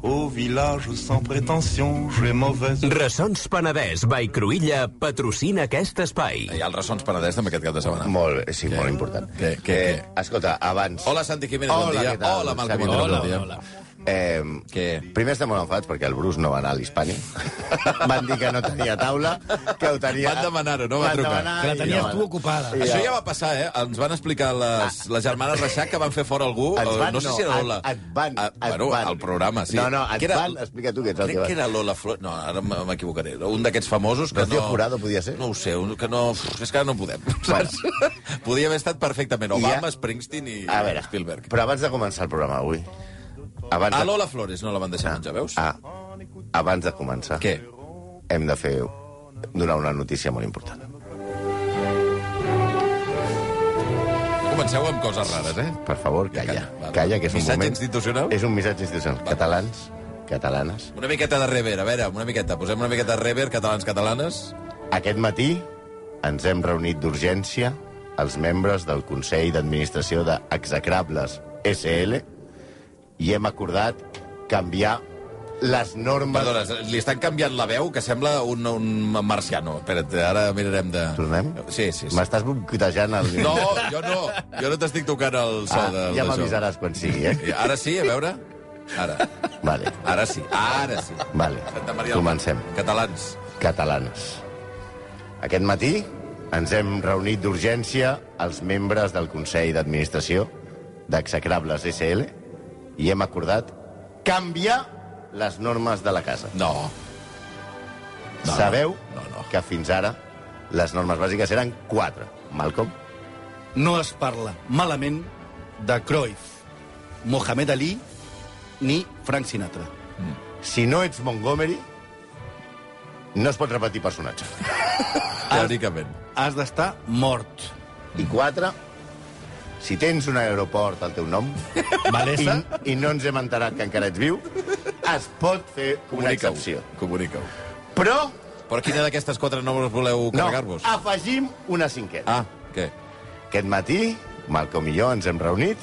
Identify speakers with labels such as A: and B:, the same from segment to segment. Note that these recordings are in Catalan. A: Au village sans prétention, j'ai mauvaise...
B: Ressons Penedès by Cruïlla patrocina aquest espai.
C: Hi ha el Ressons Penedès també aquest cap de setmana.
D: Molt, sí, molt important.
C: Ah. Què, què,
D: Eh, Escolta, abans...
C: Hola, Santi Jiménez, bon
D: Hola,
C: dia.
D: què tal?
C: Hola, Malcom
D: Xavi,
C: Vidal,
D: hola,
C: bon dia.
D: hola. Eh,
C: Què?
D: Primer estem molt enfadats perquè el Bruce no va anar a l'Hispani. Van dir que no tenia taula, que ho tenia...
C: Van demanar-ho, no va
D: Van
C: trucar.
D: demanar
E: Que la
D: i
E: tenies
D: no va-
E: tu ocupada.
D: I
C: Això ja va passar, eh? Ens van explicar les, les germanes Reixac que van fer fora algú.
D: Ens
C: o
D: van,
C: Oh, no sé si era
D: et-
C: Lola.
D: Et, van,
C: Ah,
D: et
C: bueno,
D: van.
C: al programa, sí.
D: No, no, et
C: Que era-
D: van, explica tu què tal.
C: Crec
D: que va.
C: que era Lola Flor... No, ara m- m'equivocaré. Un d'aquests famosos que
D: Rocío
C: no...
D: Jurado podia ser?
C: No ho sé, un- que no... Uf, És que ara no podem, saps? Podia haver estat perfectament
D: I ja-
C: Obama, Springsteen i
D: A veure,
C: Spielberg.
D: però abans de començar el programa avui... Abans
C: A
D: de...
C: Lola Flores no la van deixar menjar, veus?
D: Ah, abans de començar...
C: Què?
D: Hem de fer... donar una notícia molt important.
C: Comenceu amb coses rares, eh?
D: Per favor,
C: Ja
D: calla.
C: calla, va.
D: Calla, que és un
C: Missatge
D: moment...
C: institucional?
D: És un missatge institucional. Catalans, catalanes...
C: Una miqueta de rever, a veure, una miqueta. Posem una miqueta de rever, catalans, catalanes.
D: Aquest matí ens hem reunit d'urgència els membres del Consell d'Administració d'Execrables SL i hem acordat canviar les normes...
C: Perdona, li estan canviant la veu, que sembla un, un marciano. Espera't, ara mirarem de...
D: Tornem?
C: Sí, sí. sí.
D: M'estàs boicotejant el...
C: No, jo no. Jo no t'estic tocant el so
D: ah,
C: de,
D: ja
C: d'això.
D: m'avisaràs quan sigui, eh?
C: Ara sí, a veure. Ara.
D: Vale,
C: Ara sí. Ara sí.
D: vale.
C: Santa Maria del Mar.
D: Comencem.
C: Catalans.
D: catalanes. Aquest matí ens hem reunit d'urgència els membres del Consell d'Administració d'Execrables SL i hem acordat canviar les normes de la casa.
C: No. no.
D: Sabeu
C: No, no.
D: que fins ara les normes bàsiques eren quatre. Malcolm,
E: No es parla malament de Cruyff, Mohamed Ali ni Frank Sinatra.
D: si no ets Montgomery, no es pot repetir personatge.
C: Teòricament.
E: Has d'estar mort.
D: I quatre, si tens un aeroport al teu nom, i,
E: Valesa,
D: i no ens hem enterat que encara ets viu, es pot fer una
C: Comunica-ho.
D: excepció.
C: Comunica-ho.
D: Però
C: Però quina d'aquestes quatre normes voleu
D: no, Ah.
C: carregar-vos?
D: afegim una cinquena.
C: Ah, què?
D: Aquest matí, Malcolm i jo ens hem reunit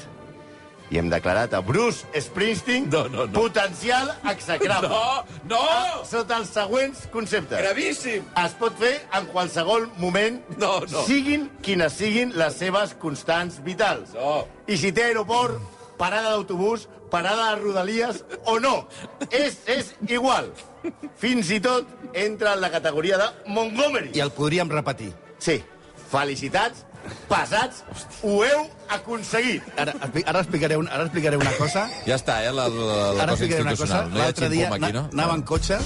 D: i hem declarat a Bruce Springsteen
C: No, no, no.
D: potencial execrable.
C: No, no!
D: Ah, Sota els següents conceptes.
C: Gravíssim!
D: Es pot fer en qualsevol moment,
C: No, no.
D: siguin quines siguin les seves constants vitals.
C: No.
D: I si té aeroport, parada d'autobús, parada de rodalies o no. És, és igual. Fins i tot entra en la categoria de Montgomery.
E: i el podríem repetir.
D: Sí, felicitats, passats, ho heu aconseguit.
E: Ara, expli- ara, explicaré, un, ara explicaré una cosa.
C: Ja està, eh, la, la, la cosa
E: Ara explicaré una cosa.
C: institucional. No hi ha
E: L'altre dia
C: ximpum
E: na,
C: aquí, no?
E: anava en cotxe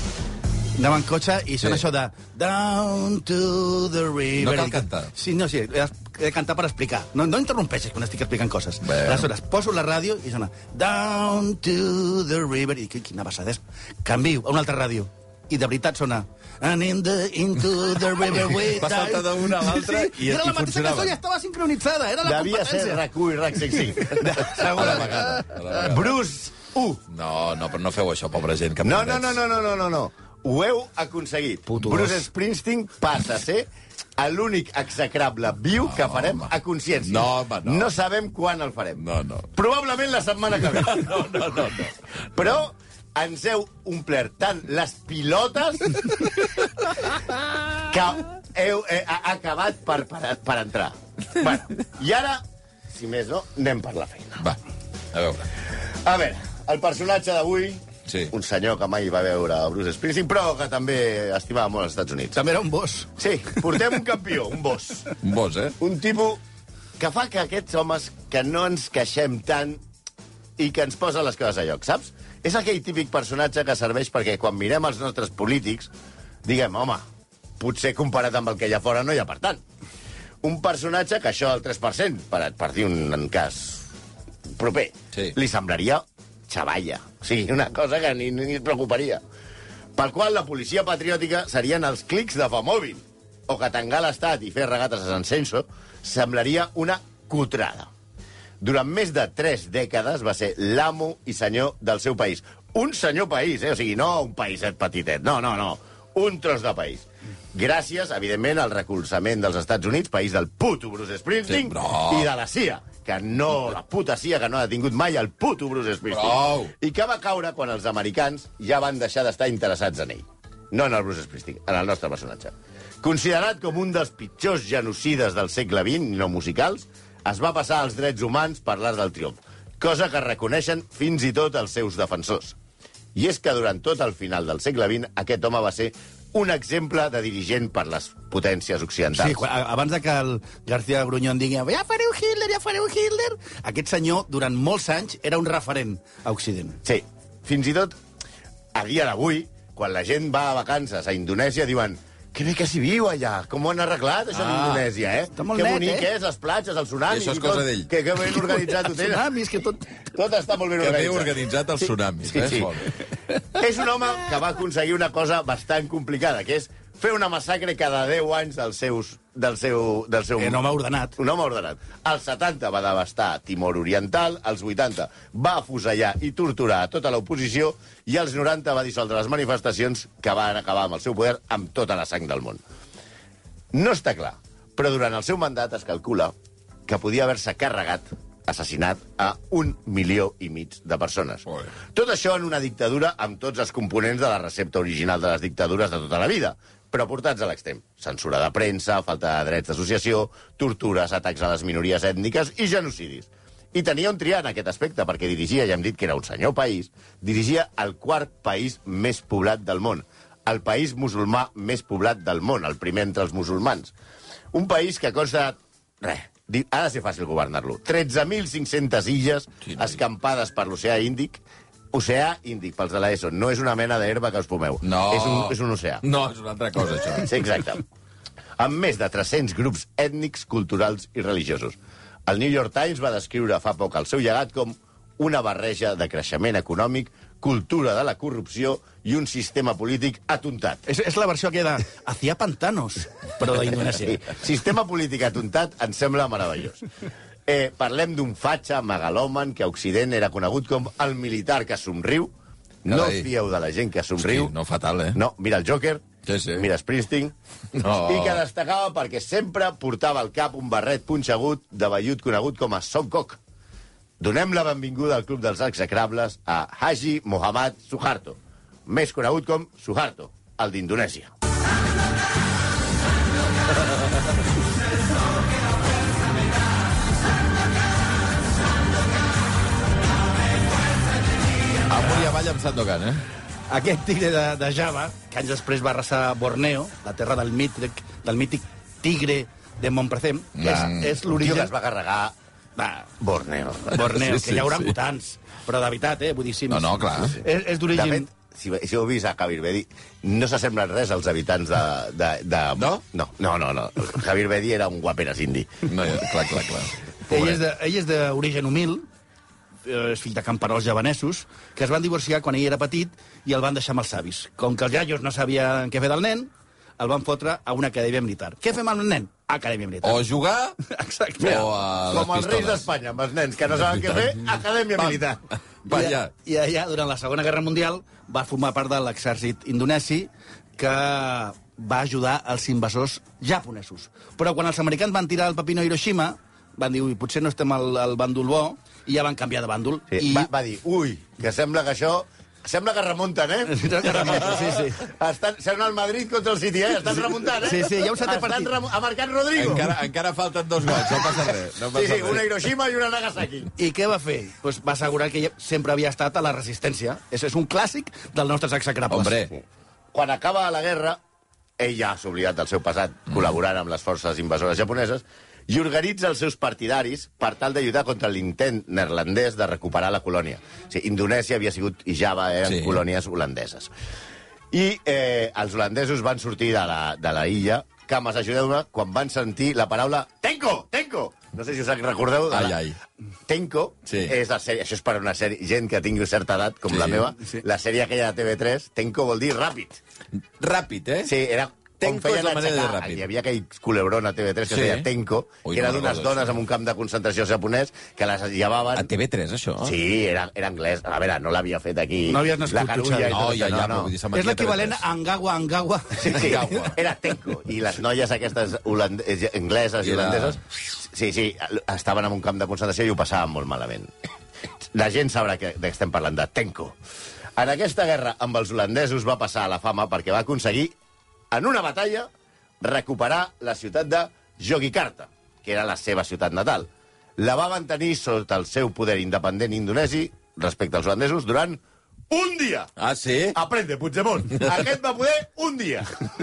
E: anava en cotxe i sona
C: Sí.
E: això de Down to the river.
C: No cal cantar.
E: Sí, no, sí, he he de cantar per explicar. No, no interrompeixes quan estic explicant coses.
C: Bé.
E: Aleshores, poso la ràdio i sona Down to the river. I dic, quina basada és. Canvio a una altra ràdio. I de veritat sona And in the, into the river with
C: Va saltar
E: time."
C: d'una a l'altra
E: sí,
C: i-
E: i, era
C: i
E: la mateixa
C: funcionava.
E: cançó i estava sincronitzada. Era la
D: Devia ser
E: competència.
D: RAC1 i RAC5.
C: A la vegada. A la vegada.
D: Bruce 1.
C: No, no, però no feu això, pobra gent. Que
D: No, no,
C: pobrets.
D: no, no, no, no, no, no. Ho heu aconseguit.
E: Puto
D: Bruce
E: dos.
D: Springsteen passa a ser l'únic execrable viu que farem
C: home.
D: a consciència.
C: No, home, no.
D: no sabem quan el farem.
C: No, no.
D: Probablement la setmana que ve. No, no, no. no. Però ens heu omplert tant les pilotes que heu eh, ha- acabat per, per, per entrar. Bueno, I ara, si més no, anem per la feina.
C: Va, a veure.
D: A veure, el personatge d'avui...
C: Sí.
D: Un senyor que mai va veure Bruce Springsteen, però que també estimava molt els Estats Units.
E: També era un boss.
D: Sí, portem un campió, un boss.
C: Un bos, eh?
D: Un tipus que fa que aquests homes que no ens queixem tant i que ens posa les coses a lloc, saps? És aquell típic personatge que serveix perquè quan mirem els nostres polítics diguem, home, potser comparat amb el que hi ha fora no hi ha per tant. Un personatge que això al 3%, per, per dir un cas proper,
C: Sí.
D: li semblaria xavalla. O sigui, una cosa que ni, ni es preocuparia. Pel qual la policia patriòtica serien els clics de Famòbil, o que tancar l'estat i fer regates a Sant Censo semblaria una cutrada. Durant més de tres dècades va ser l'amo i senyor del seu país. Un senyor país, eh? O sigui, no un païset petitet. No, no, no. Un tros de país. Gràcies, evidentment, al recolzament dels Estats Units, país del puto Bruce Springsteen,
C: Sí, no.
D: i de la CIA, que no, la puta CIA que no ha detingut mai el puto Bruce Springsteen.
C: Prou.
D: I que va caure quan els americans ja van deixar d'estar interessats en ell. No en el Bruce Springsteen, en el nostre personatge. Considerat com un dels pitjors genocides del segle XX, no musicals, es va passar als drets humans per l'art del triomf, cosa que reconeixen fins i tot els seus defensors. I és que durant tot el final del segle XX aquest home va ser un exemple de dirigent per les potències occidentals.
E: Sí, quan, a- abans de que el García Grunyón digui ja fareu Hitler, ja fareu Hitler, aquest senyor, durant molts anys, era un referent a Occident.
D: Sí, fins i tot a dia d'avui, quan la gent va a vacances a Indonèsia, diuen que bé que s'hi viu allà, com ho han arreglat, això ah, d'Indonèsia, eh?
E: està molt
D: que
E: net,
D: bonic
E: eh?
D: és, les platges, els
C: I
D: tsunamis...
C: això és
D: tot,
C: cosa d'ell.
D: Que, que ben organitzat ho
E: Els
D: tenen.
E: tsunamis, que tot...
D: Tot està molt ben
C: Que
D: organitzat.
C: bé organitzat els tsunamis, eh? És molt bé.
D: És un home que va aconseguir una cosa bastant complicada, que és fer una massacre cada 10 anys dels seus, del seu... Del seu
E: Era un home ordenat.
D: Un home ordenat. Als 70 va devastar Timor Oriental, als 80 va afusellar i torturar a tota l'oposició i als 90 va dissoldre les manifestacions que van acabar amb el seu poder amb tota la sang del món. No està clar, però durant el seu mandat es calcula que podia haver-se carregat, assassinat, a un milió i mig de persones.
C: Joder.
D: Tot això en una dictadura amb tots els components de la recepta original de les dictadures de tota la vida, però portats a l'extrem. Censura de premsa, falta de drets d'associació, tortures, atacs a les minories ètniques i genocidis. I tenia un triar en aquest aspecte, perquè dirigia, ja hem dit que era un senyor país, dirigia el quart país més poblat del món, el país musulmà més poblat del món, el primer entre els musulmans. Un país que consta... Res, di- ha de ser fàcil governar-lo. 13.500 illes
C: Sí, no.
D: escampades per l'oceà Índic. Oceà Índic, pels de l'ESO, no és una mena d'herba que us fumeu.
C: No.
D: És un, és un oceà.
C: No, és una altra cosa, això.
D: Sí, exacte. Amb més de 300 grups ètnics, culturals i religiosos. El New York Times va descriure fa poc el seu llegat com una barreja de creixement econòmic, cultura de la corrupció i un sistema polític atontat.
E: És, és la versió que de... Hacía pantanos, però d'Indonèsia.
D: Sí. Sistema polític atontat em sembla meravellós. Eh, parlem d'un fatxa megalòman que a Occident era conegut com el militar que somriu. No
C: Carai.
D: fieu de la gent que somriu.
C: Hosti, no, fatal, eh?
D: No, mira el Joker,
C: Sí, sí.
D: mira Springsteen,
C: No.
D: i que destacava perquè sempre portava al cap un barret punxegut de vellut conegut com a Songkok. Donem la benvinguda al Club dels Execrables a Haji Mohammad Suharto, més conegut com Suharto, el d'Indonèsia.
C: Amunt i avall amb Sandokan, eh?
E: Aquest tigre de, de Java, que anys després va arrasar Borneo, la terra del mític, del mític tigre de Montprezem,
C: Mm.
E: és, és
D: Un tio que
E: l'origen...
D: es va carregar
E: Va,
D: Borneo.
E: Borneo,
C: Sí,
E: sí,
C: sí,
E: que hi haurà
C: sí.
E: sí. mutants. Però de veritat, eh? Vull dir, sí,
C: No, no, clar.
E: sí, sí. És, és
D: De
E: d'origen...
D: fet, si, si heu vist a Javier Bedi, no s'assemblen res als habitants de... de, de...
C: No?
D: No, no, no, no. Javier Bedi era un guaperes indi.
C: No, ja, clar, clar, clar.
E: Ell és de- ell és d'origen humil, eh, és fill de camperols javanesos, que es van divorciar quan ell era petit i el van deixar amb els savis. Com que els iaios no sabien què fer del nen, el van fotre a una acadèmia militar. Què fem amb el nen? Acadèmia militar.
C: O jugar...
E: Exacte.
C: o a Ah, les
D: Com els reis
C: pistoles.
D: d'Espanya, amb els nens que no saben què fer, acadèmia
C: Pam.
D: militar.
C: Va, allà.
E: I, a- I allà, durant la Segona Guerra Mundial, va formar part de l'exèrcit indonesi que va ajudar els invasors japonesos. Però quan els americans van tirar el papino a Hiroshima, van dir, ui, potser no estem al, al bàndol bo, i ja van canviar de bàndol.
D: Sí,
E: I...
D: va, va dir, ui, que sembla que això... Sembla que remunten, eh?
E: Sembla que remunten, sí, sí.
D: Estan, sembla el Madrid contra el City, eh? Estan remuntant, eh?
E: Sí, sí, hi ha un setè
D: Estan
E: partit.
D: remu- Ha marcat Rodrigo.
C: Encara, encara falten dos gols, no passa res. No
D: Sí,
C: passa
D: sí, una
C: res.
D: Hiroshima i una Nagasaki.
E: I què va fer? Pues va assegurar que ella sempre havia estat a la resistència. És, és un clàssic del nostre execrables.
C: Hombre,
D: quan acaba la guerra, ell ja s'ha oblidat del seu passat
C: Mm.
D: col·laborant amb les forces invasores japoneses i organitza els seus partidaris per tal d'ajudar contra l'intent neerlandès de recuperar la colònia. O sigui, Indonèsia havia sigut, i Java eren
C: Sí.
D: sí. colònies holandeses. I eh, els holandesos van sortir de la, de la illa cames, ajudeu-me, quan van sentir la paraula Tenko! Tenko! No sé si us en recordeu. De la...
C: Ai, ai.
D: Tenko
C: Sí.
D: és la sèrie... Això és per a una sèrie... Gent que tingui certa edat, com
C: Sí,
D: la meva.
E: sí.
D: La sèrie aquella de TV3, Tenko vol dir ràpid.
C: ràpid, eh?
D: Sí, era Tenco
C: feien
D: es
C: la manera de
D: aixecar.
C: ràpid.
D: Hi havia aquell culebrón a TV3 que
C: Sí.
D: es deia Tenko,
C: Ui,
D: que era
C: no
D: d'unes
C: recordo,
D: dones
C: sí.
D: en un camp de concentració japonès que les llevaven...
C: A TV3, això?
D: Sí, era, era anglès. A veure, no l'havia fet aquí.
E: No havies nascut,
D: La Carulla
E: tu,
D: i
E: Xavi.
C: No,
D: tot
C: ja,
D: això,
C: ja,
D: no,
C: però vull dir, se'n
E: És
C: vendia
E: l'equivalent
C: TV3.
E: a Angawa, Angawa.
D: Sí, sí,
C: Gaua.
D: era tenco. I les noies aquestes holand- eh, angleses i
C: Era-
D: holandeses, sí, sí, estaven en un camp de concentració i ho passaven molt malament. La gent sabrà que de què estem parlant, de tenco. En aquesta guerra amb els holandesos va passar a la fama perquè va aconseguir, en una batalla, recuperar la ciutat de Yogyakarta, que era la seva ciutat natal. La va mantenir sota el seu poder independent indonesi respecte als holandesos durant un dia.
C: Ah, sí?
D: Aprende, Puigdemont. Aquest va poder un dia.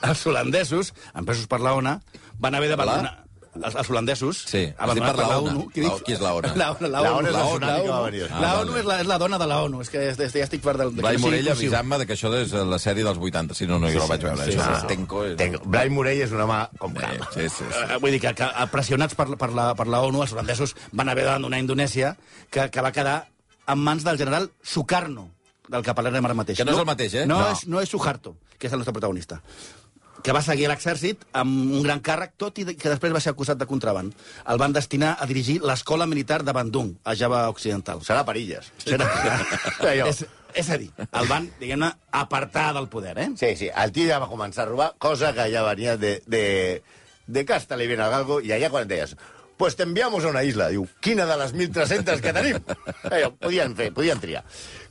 E: els holandesos, empresos per la ONA, van haver d'abandonar... Els, els holandesos...
C: Sí, has dit
E: abandonats
C: per la
E: per
C: ONA.
E: Què dic?
C: La- qui és la ONA?
E: La ONU, la
D: La
E: ONU,
D: ONA és la
E: ONU,
D: tsunami que va
E: ONU.
D: venir.
E: La
C: Ah,
E: ONU
C: vale.
E: és la, és la dona de la ONU. És que ja, ja estic fart del... de que
C: Blai
E: no sigui
C: Morell
E: inclusiu.
C: avisant-me de que això és eh, la sèrie dels 80. Si no, no, jo la vaig veure. Això és Tenco. és-
D: Tenco. Blai Morell és un home com
C: Sí,
D: cal.
C: sí, sí. sí.
E: Eh, Vull dir que, que pressionats per, per, la, per la ONU, els holandesos van haver d'abandonar Indonèsia, que, que va quedar en mans del general Sukarno, del que parlarem ara mateix.
C: Que no és el mateix, eh?
E: No,
C: No.
E: no. És, no és Suharto, que és el nostre protagonista, que va seguir a l'exèrcit amb un gran càrrec, tot i que després va ser acusat de contraband. El van destinar a dirigir l'escola militar de Bandung, a Java Occidental.
D: Serà Perilles.
E: Era...
D: Allò.
E: és, és a dir, el van, diguem-ne, apartar del poder, eh?
D: Sí, sí, el tio ja va començar a robar, cosa que ja venia de, de, de Casta, li viene al galgo, i allà quan et deies pues t'enviamos a una isla. Diu, quina de les 1.300 que tenim? Allò, podien fer, podien triar.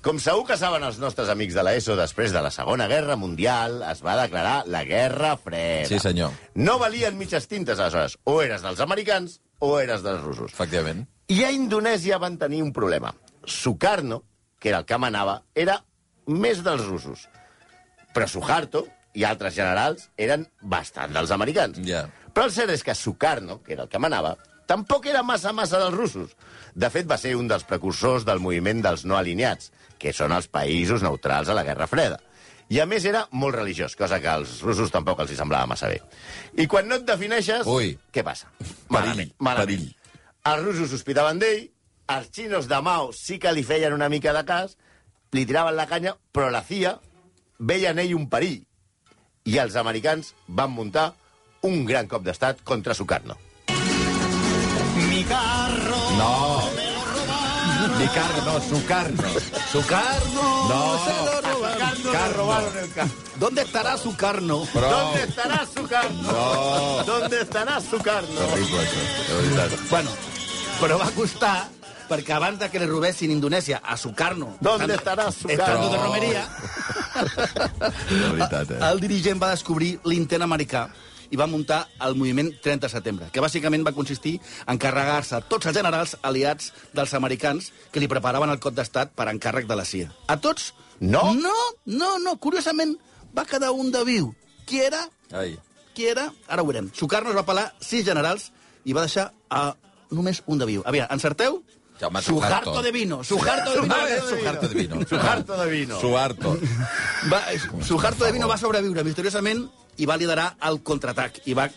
D: Com segur que saben els nostres amics de l'ESO, després de la Segona Guerra Mundial es va declarar la Guerra Freda.
C: Sí, senyor.
D: No valien mitges tintes, aleshores. O eres dels americans o eres dels russos.
C: Efectivament.
D: I a Indonèsia van tenir un problema. Sukarno, que era el que manava, era més dels russos. Però Suharto i altres generals eren bastant dels americans.
C: Ja.
D: Però el cert és que Sukarno, que era el que manava, tampoc era massa massa dels russos. De fet, va ser un dels precursors del moviment dels no alineats, que són els països neutrals a la Guerra Freda. I, a més, era molt religiós, cosa que als russos tampoc els hi semblava massa bé. I quan no et defineixes...
C: Ui.
D: Què passa?
C: Perill,
D: malament.
C: perill.
D: Els russos sospitaven d'ell, els xinos de Mao sí que li feien una mica de cas, li tiraven la canya, però la CIA veia en ell un perill. I els americans van muntar un gran cop d'estat contra Sukarno.
C: No! Ni carn, no, su carn.
E: Sukarno!
C: No.
D: robaron el carro.
E: ¿Dónde estará Sukarno?
C: Però...
D: ¿Dónde estará Sukarno?
C: No.
D: ¿Dónde estará Sukarno?
C: Terrible, això, de veritat.
E: Bueno, però va costar perquè abans de que li robessin Indonèsia a Sukarno...
D: ¿Dónde estará
E: Estando de
D: Sukarno?
E: romeria,
C: De veritat, eh?
E: el dirigent va descobrir l'intent americà i va muntar el moviment 30 de setembre, que bàsicament va consistir en carregar-se tots els generals aliats dels americans que li preparaven el cop d'estat per encàrrec de la CIA. A tots?
D: No.
E: No, no, no. Curiosament, va quedar un de viu. Qui era?
C: Ai.
E: qui era, ara ho veurem. Sukarno es va pelar sis generals i va deixar a només un de viu. Aviam, encerteu?
C: Ja, home,
E: Suharto
C: Suharto.
E: de vino. Suharto de vino. eh.
C: Ah, és su harto de vino.
D: Su harto de vino.
C: Su harto.
E: Va, Suharto de vino va sobreviure misteriosament i va liderar el contraatac. I va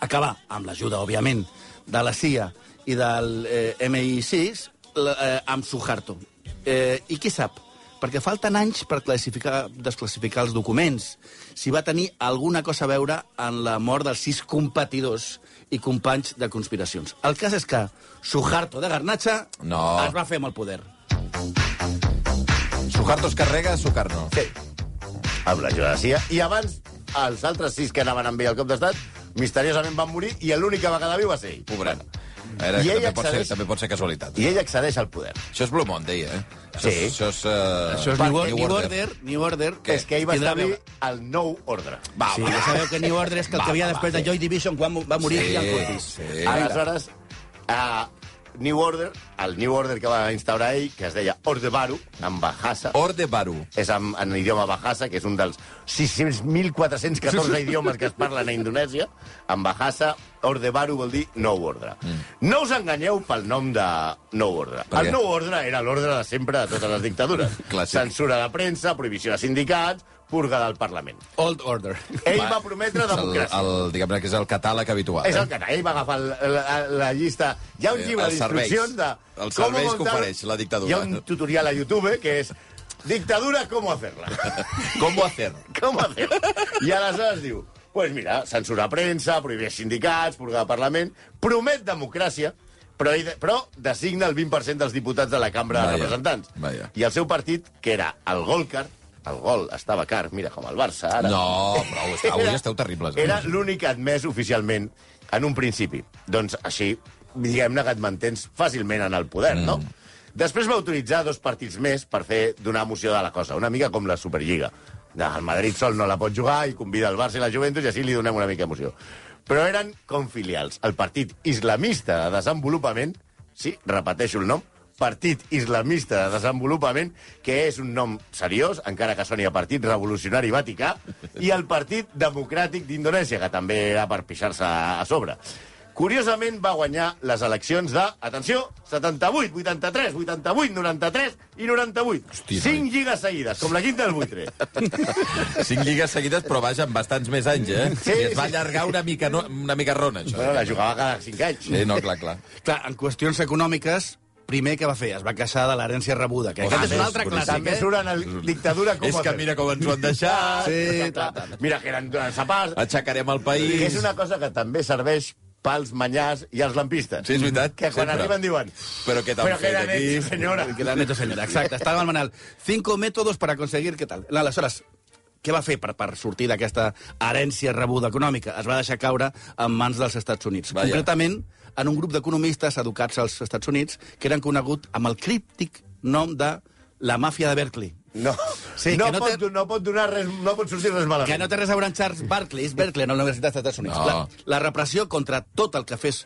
E: acabar, amb l'ajuda, òbviament, de la CIA i del eh, MI6, la- eh, amb Suharto. Eh, I qui sap? Perquè falten anys per classificar, desclassificar els documents. Si va tenir alguna cosa a veure en la mort dels sis competidors i companys de conspiracions. El cas és que Suharto de Garnatxa
C: No.
E: es va fer amb el poder.
C: Su harto es carrega, su carno.
D: Sí. Amb l'ajuda de la CIA. I abans, els altres sis que anaven amb ell al cop d'estat, misteriosament van morir i l'únic que va quedar viu va ser ell.
C: Pobret. A veure,
D: I
C: que
D: ell
C: també, pot ser,
D: accedeix-
C: també pot ser casualitat.
D: I ell accedeix al poder.
C: Això és Blue Monday, eh? Això és,
D: Sí.
C: això és, uh...
E: Això és New, Or- New Order. New Order.
C: Què?
D: És que ell va
E: Tindrà a
D: establir
E: veure.
D: el nou ordre.
C: Va,
E: Sí,
C: va.
E: ja sabeu que New Order és que el que havia després de Joy Division quan va morir
C: Sí,
E: sí, Ian Curtis.
C: sí.
D: Aleshores, a New Order, el New Order que va instaurar ell, que es deia Orde Baru, en Bahasa,
C: Or de Baru.
D: és en, en idioma Bahasa, que és un dels 600.414 idiomes que es parlen a Indonèsia. En Bahasa, Orde Baru vol dir nou ordre. Mm. No us enganyeu pel nom de nou ordre.
C: Per què?
D: El nou ordre era l'ordre de sempre de totes les dictadures.
C: Clàssic.
D: Censura de premsa, prohibició de sindicats, purga del Parlament.
E: Old Order.
D: Ell va, prometre
C: És el-
D: democràcia.
C: El, diguem-ne que és el catàleg habitual.
D: És el
C: eh?
D: que ell va agafar la, la, la llista... Hi ha un
C: Eh,
D: llibre
C: els serveis.
D: d'instruccions de...
C: Els serveis
D: com
C: que ofereix la dictadura.
D: Hi ha un tutorial a YouTube que és Dictadura, ¿cómo hacerla?
C: Com ho ha fet?
D: ¿Cómo hacerla? I aleshores diu, pues mira, censurar premsa, prohibir sindicats, purgar Parlament, promet democràcia, però, ell- però designa el 20% dels diputats de la Cambra
C: Vaja,
D: de Representants.
C: vaja.
D: I el seu partit, que era el Golcar, el gol estava car, mira, com el Barça, ara.
C: No, prou, està- avui esteu terribles, eh?
D: Era l'únic admès oficialment en un principi. Doncs així, diguem-ne que et mantens fàcilment en el poder, mm. no? Després va autoritzar dos partits més per fer donar emoció de la cosa, una mica com la Superliga. El Madrid sol no la pot jugar i convida el Barça i la Juventus i així li donem una mica emoció. Però eren com filials. El Partit Islamista de Desenvolupament, sí, repeteixo el nom, Partit Islamista de Desenvolupament, que és un nom seriós, encara que soni a Partit Revolucionari Vaticà, i el Partit Democràtic d'Indonèsia, que també era per pixar-se a sobre. Curiosament va guanyar les eleccions de, atenció, 78, 83, 88, 93 i
C: Hosti,
D: 98. Hosti,
C: noi.
D: 5 lligues seguides, com la quinta del buitre.
C: Cinc lligues seguides, però vaja, amb bastants més anys, eh?
D: Sí,
C: I es va
D: sí.
C: allargar una mica, no, una mica rona, això.
D: bueno, la jugava cada 5 anys.
C: Sí, no, clar, clar.
E: Clar, en qüestions econòmiques, primer que va fer? Es va queixar de l'herència rebuda, que
C: Oh,
E: aquest Ah, és
C: més
E: un altre
C: brutal.
E: clàssic,
D: També
E: eh?
D: surt en el dictadura com
C: És
D: a
C: que
D: fer.
C: mira com ens ho han deixat,
E: Sí,
D: Clar, Mira que eren eh, durant sapars.
C: aixecarem el
D: Que
C: país...
D: és una cosa que també serveix pels manyars i els lampistes.
C: Sí, és veritat,
D: Que quan
C: sempre.
D: arriben diuen...
C: Però què t'han
D: Però que
C: fet
D: eren
C: aquí?"
D: ells, senyora.
E: Que la han hecho senyora, exacte. Estava al manual. Cinco métodos para conseguir... Què tal? Aleshores, què va fer per, per sortir d'aquesta herència rebuda econòmica? Es va deixar caure en mans dels Estats Units.
C: Vaja.
E: Concretament, en un grup d'economistes educats als Estats Units que eren conegut amb el críptic nom de la màfia de Berkeley.
D: No,
E: Sí,
D: no,
E: que no
D: pot,
E: té-
D: no pot donar res, no pot sortir res malament.
E: Que no té res a veure amb Charles Barkley, és Berkeley, no la Universitat dels Estats Units.
C: No.
E: La, la repressió contra tot el que fes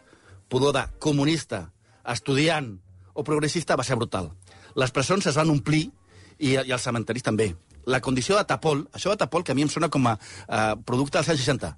E: pudor de comunista, estudiant o progressista va ser brutal. Les presons es van omplir i, i els cementaris també. La condició de tapol, això de tapol que a mi em sona com a eh, producte dels anys 60.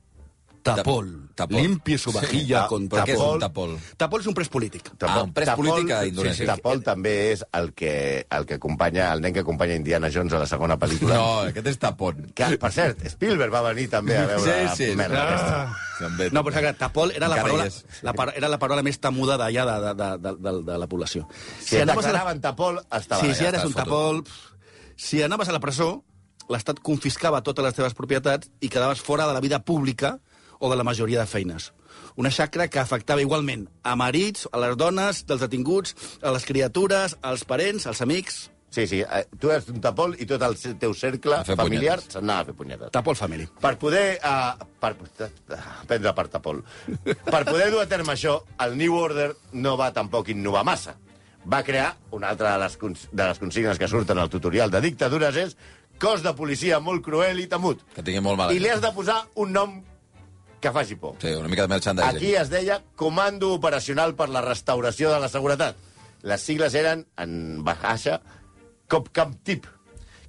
E: Tapol.
C: Tapol.
E: Limpie su vajilla
C: Sí,
E: sí, con
C: però què és
E: tapol.
C: un tapol?
E: Tapol és un pres polític.
C: Ah, un pres polític a Indonèsia.
D: Sí, sí. Tapol també és el que, el que acompanya, el nen que acompanya Indiana Jones a la segona pel·lícula.
C: No, aquest és tapon.
D: Que, per cert, Spielberg va venir també a veure
C: Sí, sí.
D: la merda aquesta.
C: Ah. També.
E: No, però clar, tapol era la
C: Encara hi
E: paraula,
C: és.
E: la, par era la paraula més temuda d'allà de, de, de, de, de la població.
D: Si et declaraven Tapol, estava
E: Sí,
D: allà.
E: si eres un
C: fotut.
E: tapol... pf, Si anaves a la presó, l'Estat confiscava totes les teves propietats i quedaves fora de la vida pública o de la majoria de feines. Una xacra que afectava igualment a marits, a les dones, dels detinguts, a les criatures, als parents, als amics...
D: Sí, sí, eh, tu eres un Tapol i tot el ce- teu cercle
C: A fer
D: familiar
C: punyetes.
D: s'anava a fer punyetes.
E: Tapol family.
D: Per poder... Uh, per, eh, prendre per tapol. Per poder dur a terme això, el New Order no va tampoc innovar massa. Va crear una altra de les, cons de les consignes que surten al tutorial de dictadures és cos de policia molt cruel i temut.
C: Que tingui molt mal.
D: I li has de posar un nom que faci por.
C: Sí, una mica de merchandising.
D: Aquí es deia Comando Operacional per la Restauració de la Seguretat. Les sigles eren, en baixa, COPCAMTIP,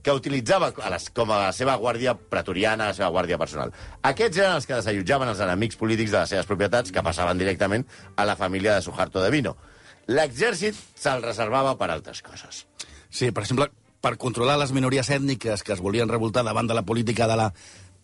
D: que utilitzava a les, com a la seva guàrdia pretoriana, la seva guàrdia personal. Aquests eren els que desallotjaven els enemics polítics de les seves propietats, que passaven directament a la família de Suharto de Vino. L'exèrcit se'l reservava per altres coses.
E: Sí, per exemple, per controlar les minories ètniques que es volien revoltar davant de la política de la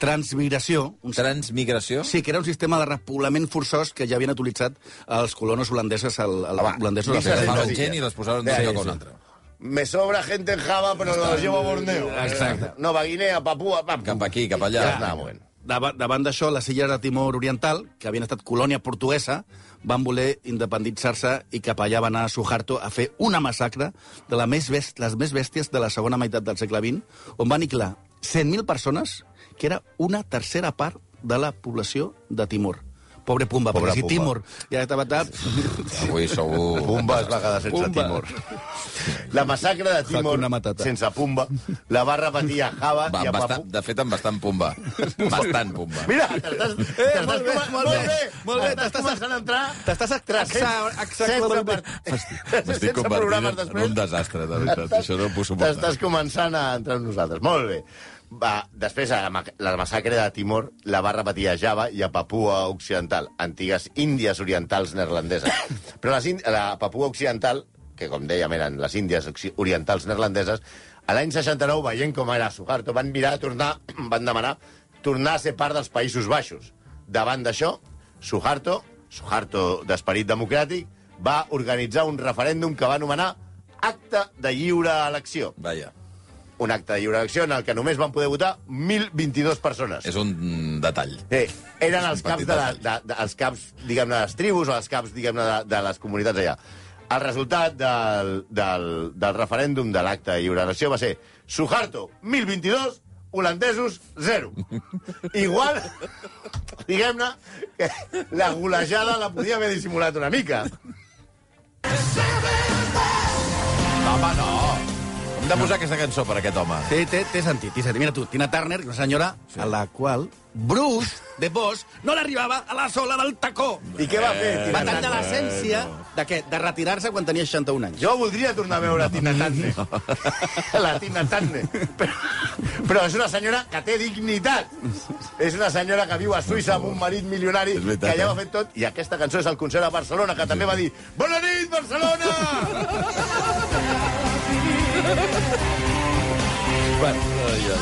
E: transmigració, un
C: Transmigració?
E: Sí, que era un sistema de repoblament forçós que ja havien utilitzat els colonos holandesos, el, el,
D: Home,
E: holandesos
D: dices el
E: als Estats
C: Agafaven
D: sí,
E: Units.
C: gent i les posaven
D: Sí,
C: d'un lloc
D: sí.
C: a un altre.
D: Me sobra gente en Java, però los llevo a Borneo.
E: Exacte.
D: Nova Guinea, Papua... Pam,
C: Cap aquí, cap allà.
D: Ja, ja anava movent.
E: Dava- Davant d'això, les illes de Timor Oriental, que havien estat colònia portuguesa, van voler independitzar-se i cap allà va anar Suharto a fer una massacre de la més bèst les més bèsties de la segona meitat del segle XX, on van aniquilar 100.000 persones, que era una tercera part de la població de Timor. Pobre Pumba,
D: Pobre
E: Pobre perquè si
D: Pumba.
E: Timor ja estava tal...
C: Avui segur...
D: Pumba es va quedar sense
E: Pumba.
D: Timor. La massacre de Timor
E: Hakuna Matata.
D: sense Pumba la va repetir a Java
C: Va,
D: i a
C: bastant,
D: Papu.
C: de fet, amb bastant pumba. Bastant pumba.
D: Mira, t'estàs... Eh, molt bé, molt bé, molt bé. T'estàs començant a entrar...
E: T'estàs exacte-
D: sense,
E: exacte...
D: part...
C: M'estic
D: sense
C: convertint
D: programes
C: en
D: després.
C: un desastre, de veritat. Això no ho puc suportar.
D: T'estàs començant a entrar amb nosaltres. Molt bé. Va, després, la, ma- la massacre de Timor la va repetir a Java i a Papua Occidental, antigues Índies Orientals neerlandeses. Però les, Ín- la Papua Occidental, que com dèiem eren les Índies Occi- Orientals neerlandeses, a l'any 69, veient com era Suharto, van mirar, a tornar, van demanar tornar a ser part dels Països Baixos. Davant d'això, Suharto, Suharto d'esperit democràtic, va organitzar un referèndum que va anomenar Acte de Lliure Elecció
C: Vaja.
D: un acte de lliure elecció en el que només van poder votar 1.022 persones.
C: És un detall.
D: Sí, eren
C: És
D: els
C: un
D: caps,
C: petit
D: de, la,
C: detall.
D: de, de, els caps diguem-ne, de les tribus o els caps, diguem-ne, de, de les comunitats allà. El resultat del, del, del referèndum de l'acte de lliure elecció va ser Suharto, 1022, holandesos, 0. Igual, diguem-ne, que la golejada la podia haver dissimulat una mica.
C: No, home, no. Hem de posar aquesta cançó per aquest home.
E: Té, té, té sentit, té sentit. Mira tu, Tina Turner, una senyora sí. a la qual Bruce de Boss no l'arribava a la sola del tacó.
D: I què va fer? Tina
E: Va tancar
D: Turner?
E: l'essència de què? De retirar-se quan tenia 61 anys.
D: Jo voldria tornar a veure Tina Turner. La Tina Turner. Però, però és una senyora que té dignitat. És una senyora que viu a Suïssa amb un marit milionari
C: És veritat,
D: que ja ho ha
C: eh?
D: fet tot. I aquesta cançó és el concert a Barcelona, que també va dir Bona nit, Barcelona!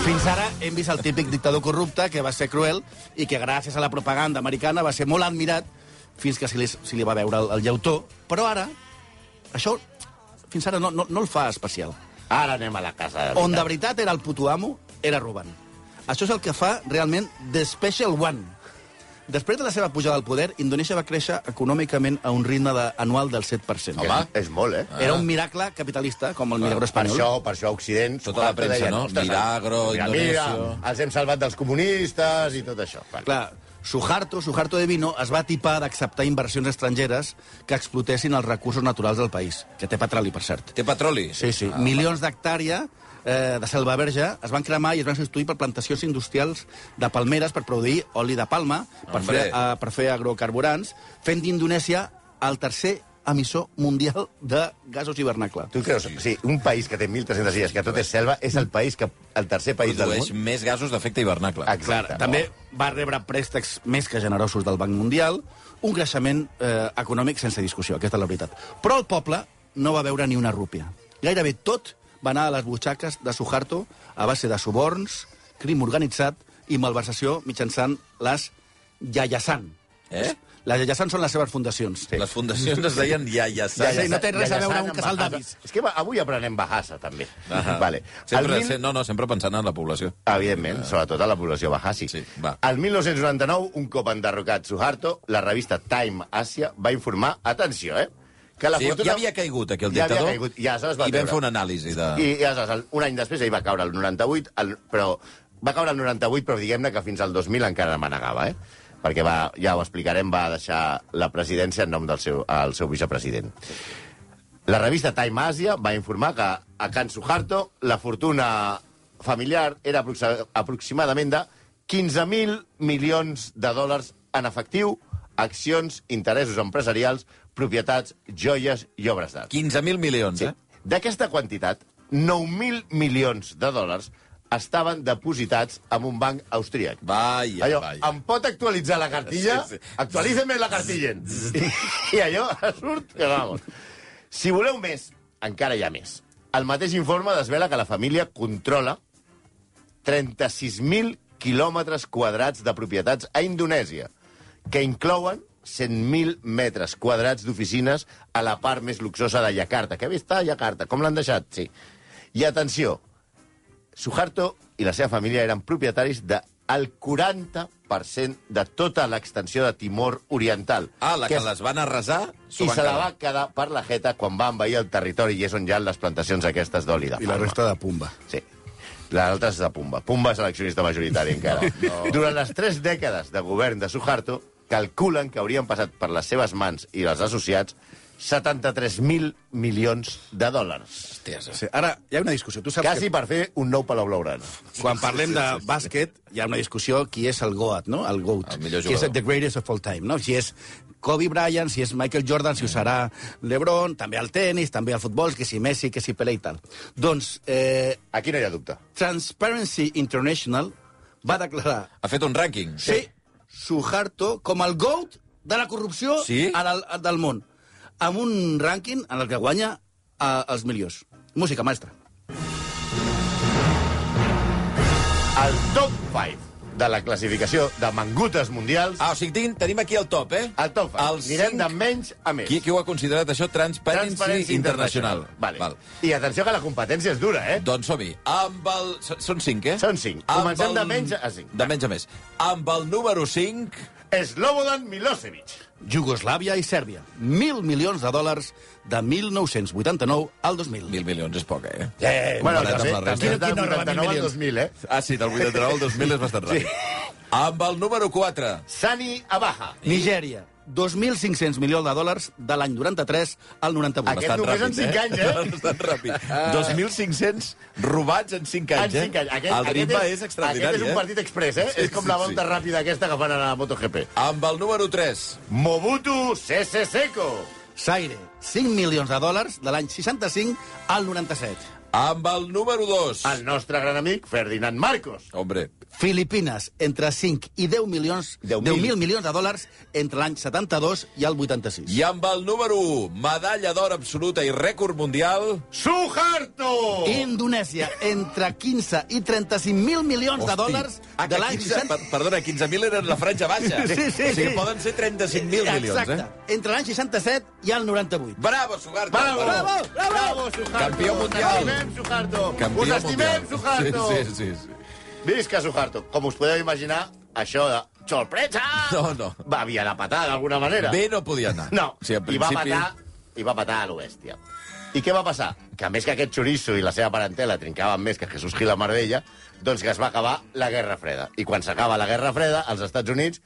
E: Fins ara hem vist el típic dictador corrupte que va ser cruel i que gràcies a la propaganda americana va ser molt admirat fins que se li, se li va veure el, el llautó. Però ara, això fins ara no, no, no el fa especial.
D: Ara anem a la casa.
E: On de veritat era el puto amo, era Ruben. Això és el que fa realment The Special One. Després de la seva pujada al poder, Indonèsia va créixer econòmicament a un ritme de, anual del 7%.
D: Home, és molt, eh?
E: Era un miracle capitalista, com el milagro
D: Per
E: espanyol.
D: això, per això Occident...
C: Tota la premsa,
D: deien,
C: no?
D: "Ostres,
C: Milagro,
D: mira, mira,
C: Indonèsia."
D: els hem salvat dels comunistes i tot això. Vale.
E: Clar, Suharto, Suharto de Vino, es va tipar d'acceptar inversions estrangeres que explotessin els recursos naturals del país, que té petroli, per cert.
C: Té petroli?
E: Sí, sí. Ah, Milions d'hectàrea eh, de selva verge es van cremar i es van substituir per plantacions industrials de palmeres per produir oli de palma, per
C: Hombre.
E: fer, eh, per fer agrocarburants, fent d'Indonèsia el tercer emissor mundial de gasos hivernacle.
D: Tu creus? Sí. un país que té 1.300 illes, que tot és selva, és el país que el tercer país del
C: Produeix
D: món...
C: més gasos d'efecte hivernacle.
D: Exacte.
E: Clar, també va rebre préstecs més que generosos del Banc Mundial, un creixement eh, econòmic sense discussió, aquesta és la veritat. Però el poble no va veure ni una rúpia. Gairebé tot va anar a les butxaques de Suharto a base de suborns, crim organitzat i malversació mitjançant les Yayasan.
C: Eh?
E: Les Yayasan són les seves fundacions.
C: Les fundacions es deien Yayasà.
E: Ja, ja, sí, no té res a veure
D: Yayasana
E: un casal
D: amb Bahasa.
E: d'avis.
D: És que va- avui aprenem Bahasa, també.
C: Ahà.
D: Vale.
C: Sempre,
D: El mil-
C: se- No, no, sempre pensant en la població.
D: Evidentment, sobretot a la població bahasi.
C: Sí, va.
D: El 1999, un cop enderrocat Suharto, la revista Time Asia va informar, atenció, eh, que la
C: Sí,
D: fortuna...
C: ja havia caigut aquí el
D: Ja
C: dictador
D: havia caigut, i aleshores va
C: i vam
D: treure.
C: fer una anàlisi de...
D: I, i aleshores, un any després, ell va caure el 98, el, però va caure el 98, però diguem-ne que fins al 2000 encara manegava, eh? Perquè va, ja ho explicarem, va deixar la presidència en nom del seu, el seu vicepresident. La revista Time Asia va informar que a Can Suharto la fortuna familiar era aproxa- aproximadament de 15.000 milions de dòlars en efectiu, accions, interessos empresarials, propietats, joies i obres d'art.
C: 15.000 milions,
D: Sí.
C: eh?
D: D'aquesta quantitat, 9.000 milions de dòlars estaven depositats en un banc austríac.
C: Vaja,
D: allò,
C: vaja.
D: em pot actualitzar la cartilla?
C: Sí, sí.
D: Sí, sí. Actualíceme la cartilla. I, I allò surt que vamos. Si voleu més, encara hi ha més. El mateix informe desvela que la família controla 36.000 quilòmetres quadrats de propietats a Indonèsia, que inclouen 100.000 metres quadrats d'oficines a la part més luxosa de Yakarta. Que bé està Yakarta, com l'han deixat? Sí. I atenció, Suharto i la seva família eren propietaris de el 40% de tota l'extensió de Timor Oriental.
C: Ah, la que
D: és-
C: les van arrasar... s'ho
D: I
C: van
D: se la
C: quedar.
D: va quedar per la jeta quan va envair el territori i és on hi ha les plantacions aquestes d'oli de palma.
E: de Pumba.
D: Sí. L'altra és de Pumba. Pumba és eleccionista majoritari encara. No. Durant les tres dècades de govern de Suharto, calculen que haurien passat per les seves mans i els associats 73.000 milions de dòlars.
E: Sí, ara, hi ha una discussió. Tu saps
D: Quasi per fer un nou Palau Blaugrana.
E: que quan parlem de bàsquet hi ha una discussió qui és el GOAT, no? El GOAT.
C: El millor
E: qui és
C: jugador.
E: the greatest of all time, no? Si és Kobe Bryant, si és Michael Jordan, si ho serà LeBron, també al tennis, també al futbol, que si Messi, que si Pelé i tal. Doncs eh,
D: Aquí no hi ha dubte.
E: Transparency International va declarar
C: Ha fet un rànquing.
E: sí. Suharto com el GOAT de la corrupció
C: Sí?
E: a del, a- del món, amb un rànquing en el que guanya eh, els millors. Música, maestra.
D: El top 5 de la classificació de mangutes mundials
C: Ah, o sigui, tenim, tenim aquí el top, eh?
D: al top 5.
C: El
D: Anirem
C: cinc-
D: de menys a més.
C: Qui, qui ho ha considerat, això? Transparency,
D: Transparència
C: Internacional.
D: Vale. I atenció que la competència és dura, eh?
C: Doncs som-hi. Amb el... s- Són cinc, eh?
D: Són cinc.
C: Amb
D: Comencem de menys a cinc.
C: De menys a més. Amb el número 5...
D: Slobodan Milosevic.
E: Jugoslàvia i Sèrbia. Mil milions de dòlars de 1989 al 2000.
C: Mil milions és poca, eh?
D: Eh, bueno,
C: comparat
D: també,
C: amb la resta.
D: també del 89 al 2000, eh?
C: Ah, sí, del 89 al 2000 és bastant ràpid. Amb el número 4...
D: Sani Abaha.
E: Nigèria. 2.500 milions de dòlars de l'any 93 al 98.
D: Aquest
C: Bastant
D: només en
C: ràpid, eh?
D: cinc anys, eh?
C: Bastant ràpid. 2.500 robats en 5
D: En
C: anys, eh?
D: cinc anys. Aquest,
C: el ritme
D: aquest
C: és, extraordinari,
D: Aquest és un
C: eh?
D: partit express, eh?
C: Sí,
D: és com
C: sí,
D: la
C: sí.
D: volta ràpida aquesta que fan a la MotoGP.
C: Amb el número 3...
D: Mobutu Sese Seko.
E: Saire. 5 milions de dòlars de l'any 65 al 97.
C: Amb el número 2...
D: El nostre gran amic Ferdinand Marcos.
C: Hombre,
E: Filipines, entre 5 i 10 milions,
D: 10.000.
E: 10.000 milions de dòlars entre l'any 72 i el 86.
C: I amb el número 1, medalla d'or absoluta i rècord mundial...
D: Suharto!
E: Indonèsia, entre 15 i 35.000 milions de
C: Hosti,
E: dòlars
C: ah,
E: de
C: que
E: l'any
C: 15,
E: 60...
C: per- Perdona, 15.000 eren la franja baixa.
E: Sí, sí,
C: o sigui,
E: sí.
C: poden ser 35.000 milions,
E: Exacte,
C: eh?
E: entre l'any 67 i el 98.
C: Bravo, Sugarta!
D: Bravo!
E: Bravo, bravo!
D: Bravo, Suharto!
C: Campió mundial.
D: Us estimem, Suharto!
C: Campió
D: Us estimem,
C: mundial.
D: Suharto!
C: Sí, sí, sí, sí.
D: Visca Suharto. Com us podeu imaginar, això de... Sorpresa!
C: No, no.
D: Va havia de patar d'alguna manera.
C: Bé no podia anar.
D: No,
C: O sigui, en
D: i va
C: principi,
D: patar, i va patar a l'Oestia. I què va passar? Que a més que aquest xoriço i la seva parentela trincaven més que Jesús Gil a Marbella, doncs que es va acabar la Guerra Freda. I quan s'acaba la Guerra Freda, als Estats Units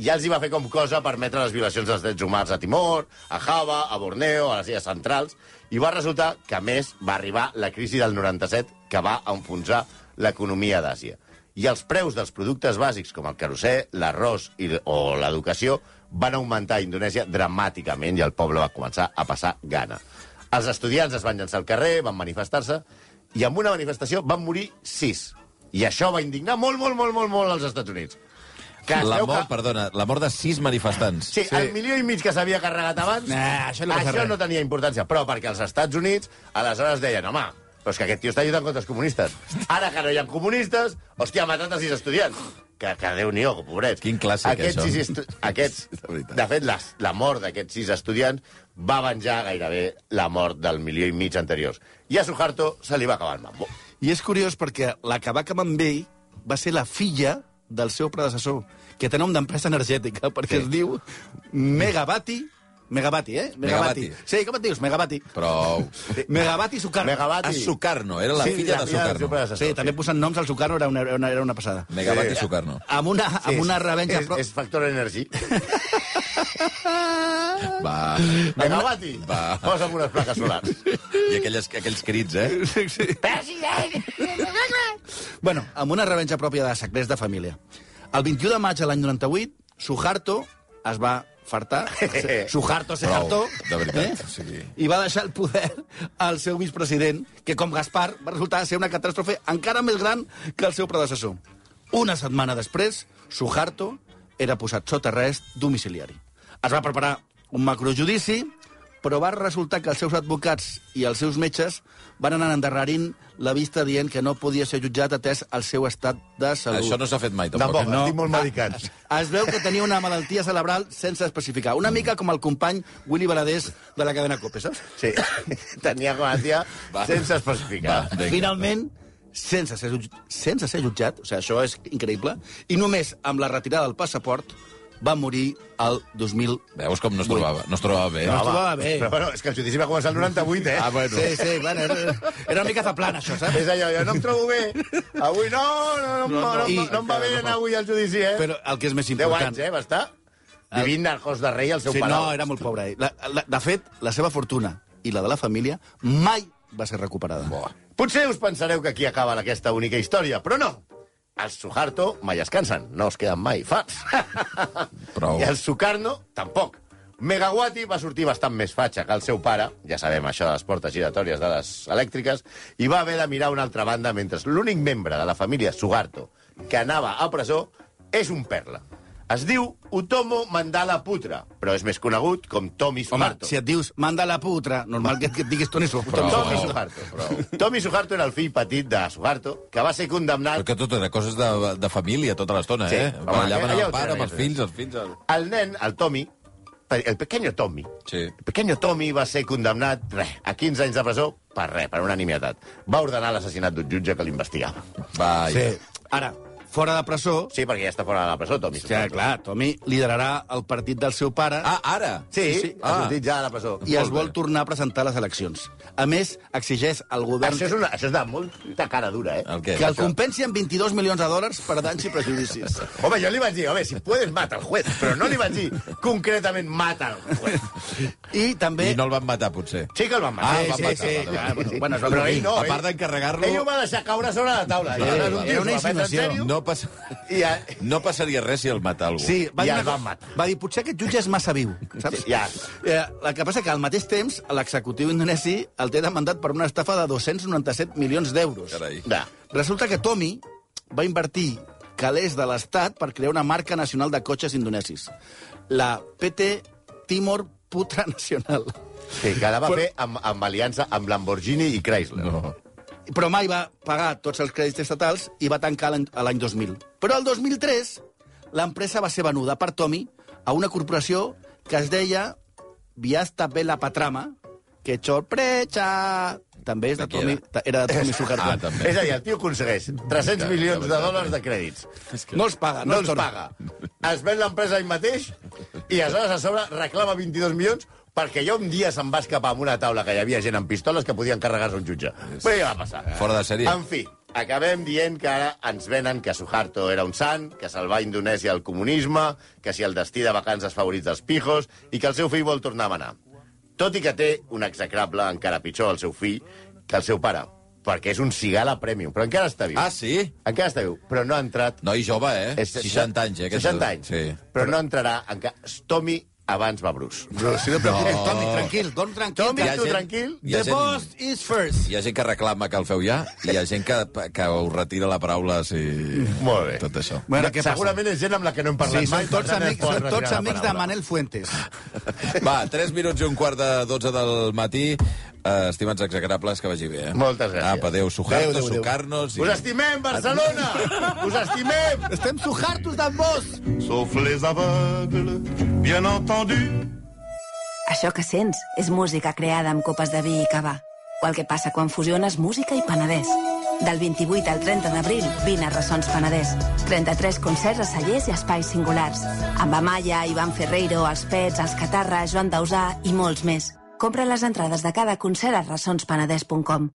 D: ja els hi va fer com cosa permetre les violacions dels drets humans a Timor, a Java, a Borneo, a les Illes Centrals, i va resultar que, a més, va arribar la crisi del 97 que va enfonsar l'economia d'Àsia. I els preus dels productes bàsics, com el carosser, l'arròs i- o l'educació, van augmentar a Indonèsia dramàticament i el poble va començar a passar gana. Els estudiants es van llançar al carrer, van manifestar-se, i amb una manifestació van morir sis. I això va indignar molt, molt, molt, molt, molt als Estats Units. Que es
C: La
D: veu
C: mort, perdona, la mort de sis manifestants.
D: Sí, sí, el milió i mig que s'havia carregat abans,
E: Nah, això no passa
D: això
E: res.
D: no tenia importància. Però perquè als Estats Units, aleshores deien, home, però és que aquest tio està lluitant contra els comunistes. Ara que no hi ha comunistes, hòstia, ha matat a sis estudiants. Que, que Déu-n'hi-do, pobrets.
C: Quin clàssic,
D: aquests
C: això.
D: Sis estu... aquests,
C: La veritat.
D: de fet, la, la mort d'aquests sis estudiants va venjar gairebé la mort del milió i mig anteriors. I a Suharto se li va acabar el mambo.
E: I és curiós perquè la que va acabar amb ell va ser la filla del seu predecessor, que té nom d'empresa energètica, perquè sí. es diu Megavati... Megavati, eh?
C: Megavati.
E: Sí, com et dius? Megavati.
C: Prou.
E: Megavati Sukarno.
C: A
E: Ah,
D: Megavati.
C: Sukarno, era la
D: Sí,
C: filla de
D: la filla del seu
C: Sukarno.
D: predecessor.
E: Sí, també posant noms al Sukarno era una, era una, era una passada. Eh,
C: Megabat i
D: Sí.
C: Sukarno.
E: Amb una, amb una revenja...
D: És, és factor energia.
C: Va.
D: Megavati,
C: Va.
D: posa'm unes plaques solars.
C: I aquelles, aquells crits, eh?
E: Sí, sí. bueno, amb una revenja pròpia de secrets de família. El 21 de maig de l'any 98, Suharto es va fartar. Suharto se
C: Prou,
E: hartó. eh?
C: de veritat, o sigui.
E: I va deixar el poder al seu vicepresident, que com Gaspar va resultar ser una catàstrofe encara més gran que el seu predecessor. Una setmana després, Suharto era posat sota arrest domiciliari. Es va preparar un macrojudici, però va resultar que els seus advocats i els seus metges van anar endarrerint la vista dient que no podia ser jutjat atès el seu estat de salut.
C: Això no s'ha fet mai, tampoc.
D: Tampoc,
C: eh?
D: no. estic molt medicat.
E: Es veu que tenia una malaltia cerebral sense especificar. Una mica com el company Willy Baladés de la cadena COPE, saps?
D: Sí, tenia com a tia
C: Va.
D: sense especificar.
C: Va. Vinga.
E: Finalment, sense ser, jutj- sense ser jutjat, o sigui, això és increïble, i només amb la retirada del passaport va morir el 2000.
C: Veus com no es trobava, no es trobava bé. No,
E: No, es trobava bé.
D: Però bueno, és que el judici va començar el 98, eh?
C: Ah, bueno.
E: Sí, sí, bueno, era, era una mica zaplana, això, saps?
D: És allò, jo no em trobo bé. Avui no, no, no, no, no,
E: I-
D: no, no em va bé anar avui al judici, eh?
E: Però el que és més
D: 10
E: important... Ah.
D: anys, eh, va estar? Vivint narcos de rei al seu
E: Sí,
D: palau.
E: no, era molt pobre. ell. La, la, de fet, la seva fortuna i la de la família mai va ser recuperada. Boa.
D: Potser us pensareu que aquí acaba aquesta única història, però no. Els Suharto mai es cansen, no es queden mai fats.
E: Oh.
C: Prou.
D: I el Sukarno, tampoc. Megawati va sortir bastant més fatxa que el seu pare, ja sabem això de les portes giratòries de les elèctriques, i va haver de mirar a una altra banda mentre l'únic membre de la família Suharto que anava a presó és un perla. Es diu Utomo Mandala Putra, però és més conegut com Tommy
E: Home,
D: Suharto.
E: si et dius, manda la putra, normal que, que et diguis Toni Suharto.
D: Tommy
E: Toni Suharto.
D: Suharto. Tommy Suharto era el fill petit de Suharto, que va ser condemnat...
C: Perquè tot era coses de, de família tota l'estona,
D: Sí,
C: eh?
D: home,
C: Ballaven
D: allà
C: el
D: ho
C: pare
D: tenen,
C: amb els
D: allà ho
C: fills, els fills... El...
D: El nen, el Tommy, el pequeño Tommy,
C: Sí.
D: El pequeño Tommy va ser condemnat re, a 15 anys de presó per res, per unanimietat. Va ordenar l'assassinat d'un jutge que l'investigava.
C: Vai.
E: Sí. Ara, fora de presó,
D: Sí, perquè ja està fora de la presó, Tommy.
E: ja, clar, Tommy liderarà el partit del seu pare
C: Ah, ara?
D: Sí, sí, sí. ha
C: Ah.
D: sortit ja de la presó.
E: i es
C: molt bé.
E: vol tornar a presentar a les eleccions. A més, exigeix al govern
D: Això és, una, això és de molta cara dura, eh?
C: El què?
E: que el
C: Això?
E: compensi amb 22 milions de dòlars per danys i prejudicis.
D: Home, jo li vaig dir, home, si puedes, mata el juez. Però no li vaig dir concretament mata el juez.
E: I també...
C: I no el van matar, potser.
D: Sí que el van matar.
C: Ah, el van matar, vale, vale.
E: Ah, bueno, bueno, es va
D: Però
E: morir.
D: ell no,
C: a part
D: ell-
C: d'encarregar-lo-
D: Ell ho va deixar caure sobre la taula.
E: Sí,
D: I ara és un tio
E: era una
D: que ho va prendre en
E: insinuació.
D: sèrio
C: No, passa...
D: I ja-
C: no passaria res si el mata algú.
E: Sí, va
D: I
E: dir,
D: el
E: una
D: van
E: cosa-
D: matar.
E: va dir, potser aquest jutge és massa viu, saps?
D: Sí, ja.
E: Eh, el que passa que al mateix temps l'executiu indonesi el té demandat per una estafa de 297 milions d'euros.
C: Carai.
D: Va.
E: Resulta que Tommy va invertir calés de l'Estat per crear una marca nacional de cotxes indonesis. La PT Timor Putra Nacional.
D: Sí, que la va
E: Però-
D: fer amb, amb aliança amb Lamborghini i Chrysler.
C: No.
E: Però mai va pagar tots els crèdits estatals i va tancar l'any a l'any 2000. Però el 2003 l'empresa va ser venuda per Tommy a una corporació que es deia Viasta Vela Patrama, que sorpresa! També és de
C: D'aquí
E: Tommy, era de Tommy Sugarto.
C: Ah, també.
D: És a dir, el tio aconsegueix 300 milions de dòlars de crèdits.
E: No els paga, no,
D: No els
E: torna.
D: paga. Es ven l'empresa ell mateix i aleshores a sobre reclama 22 milions perquè jo un dia se'n va escapar amb una taula que hi havia gent amb pistoles que podien carregar-se un jutge. Però ja va passar.
C: Fora de sèrie.
D: En fi, acabem dient que ara ens venen que Suharto era un sant, que salvar Indonèsia el comunisme, que si el destí de vacances favorits dels pijos i que el seu fill vol tornar a manar. Tot i que té un execrable encara pitjor el seu fill que el seu pare, perquè és un cigala premium, però encara està viu.
C: Ah, sí?
D: Encara està viu, però no ha entrat...
C: Noi jove, eh?
D: És-
C: 60 anys, eh? aquest
D: 60 anys.
C: Sí.
D: Però no entrarà encara... Tommy abans va Bruce.
E: Però si no, preocupis, Eh, Tommy, tranquil, don tranquil.
D: Tommy,
C: Hi ha
D: tu
C: gent-
D: tranquil.
C: hi ha
E: The
C: gent-
E: boss is first.
C: Hi ha gent que reclama que el feu ja, i hi ha gent que, que us retira la paraula si...
D: Molt bé.
C: Tot això.
E: Bueno, què passa?
D: Segurament és gent amb la que no hem parlat
E: Sí,
D: mai.
E: són tots
D: per tant,
E: amics,
D: es poden
E: són tots
D: retirar la
E: amics de
D: paraula.
E: Manel Fuentes.
C: Va, 3 minuts i un quart de 12 del matí. Uh, estimats execrables, que vagi bé. Eh?
D: Moltes gràcies.
C: Apa, adéu,
D: Adéu,
C: sujar-nos,
D: adéu, adéu.
C: sucar-nos...
D: Us estimem, Barcelona! Us estimem!
E: Estem sujartos d'en vos!
A: Sauf les aveugles, bien entendu.
F: Això que sents és música creada amb copes de vi i cava. O el que passa quan fusiones música i Penedès. Del 28 al 30 d'abril, vine a Ressons Penedès. 33 concerts a cellers i espais singulars. Amb Amaya, Ivan Ferreiro, Els Pets, Els Catarra, Joan Dausà i molts més. Compra les entrades de cada concert a rassonspenedès.com.